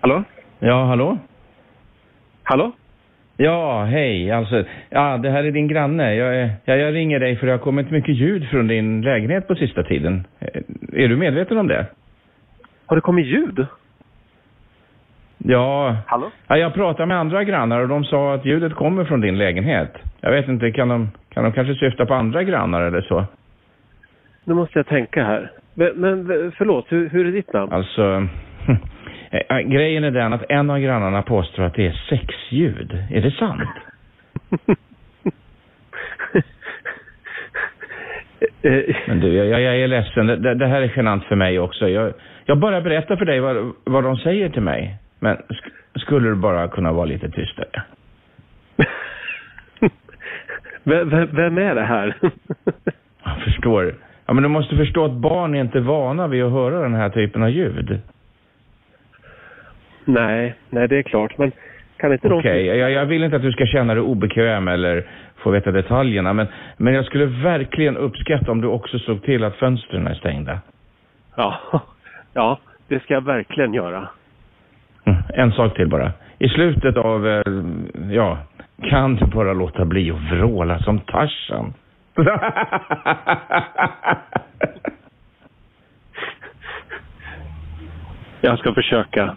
Hallå? Ja, hallå? Hallå? Ja, hej. Alltså, ja, det här är din granne. Jag, är- ja, jag ringer dig för det har kommit mycket ljud från din lägenhet på sista tiden. Eh, Är du medveten om det? Har det kommit ljud? Ja, Hallå? ja jag pratade med andra grannar och de sa att ljudet kommer från din lägenhet. Jag vet inte, kan de, kan de kanske syfta på andra grannar eller så? Nu måste jag tänka här. Men, men förlåt, hur, hur är ditt namn? Alltså, eh, grejen är den att en av grannarna påstår att det är sexljud. Är det sant? Eh, Men du, jag, jag är ledsen. Det- Det, det här är genant för mig också. Jag, jag bara berättar för dig vad, vad de säger till mig. Men sk- skulle du bara kunna vara lite tystare? vem, vem, vem är det här? Jag förstår. Ja, men du måste förstå att barn är inte vana vid att höra den här typen av ljud. nej, nej det är klart. Men kan inte Okej, någon... jag, jag vill inte att du ska känna dig obekväm eller få veta detaljerna. Men, men jag skulle verkligen uppskatta om du också såg till att fönstren är stängda. Ja, ja, det ska jag verkligen göra. Mm, En sak till bara. I slutet av, eh, ja, kan du bara låta bli att vråla som Tarzan? Jag ska försöka.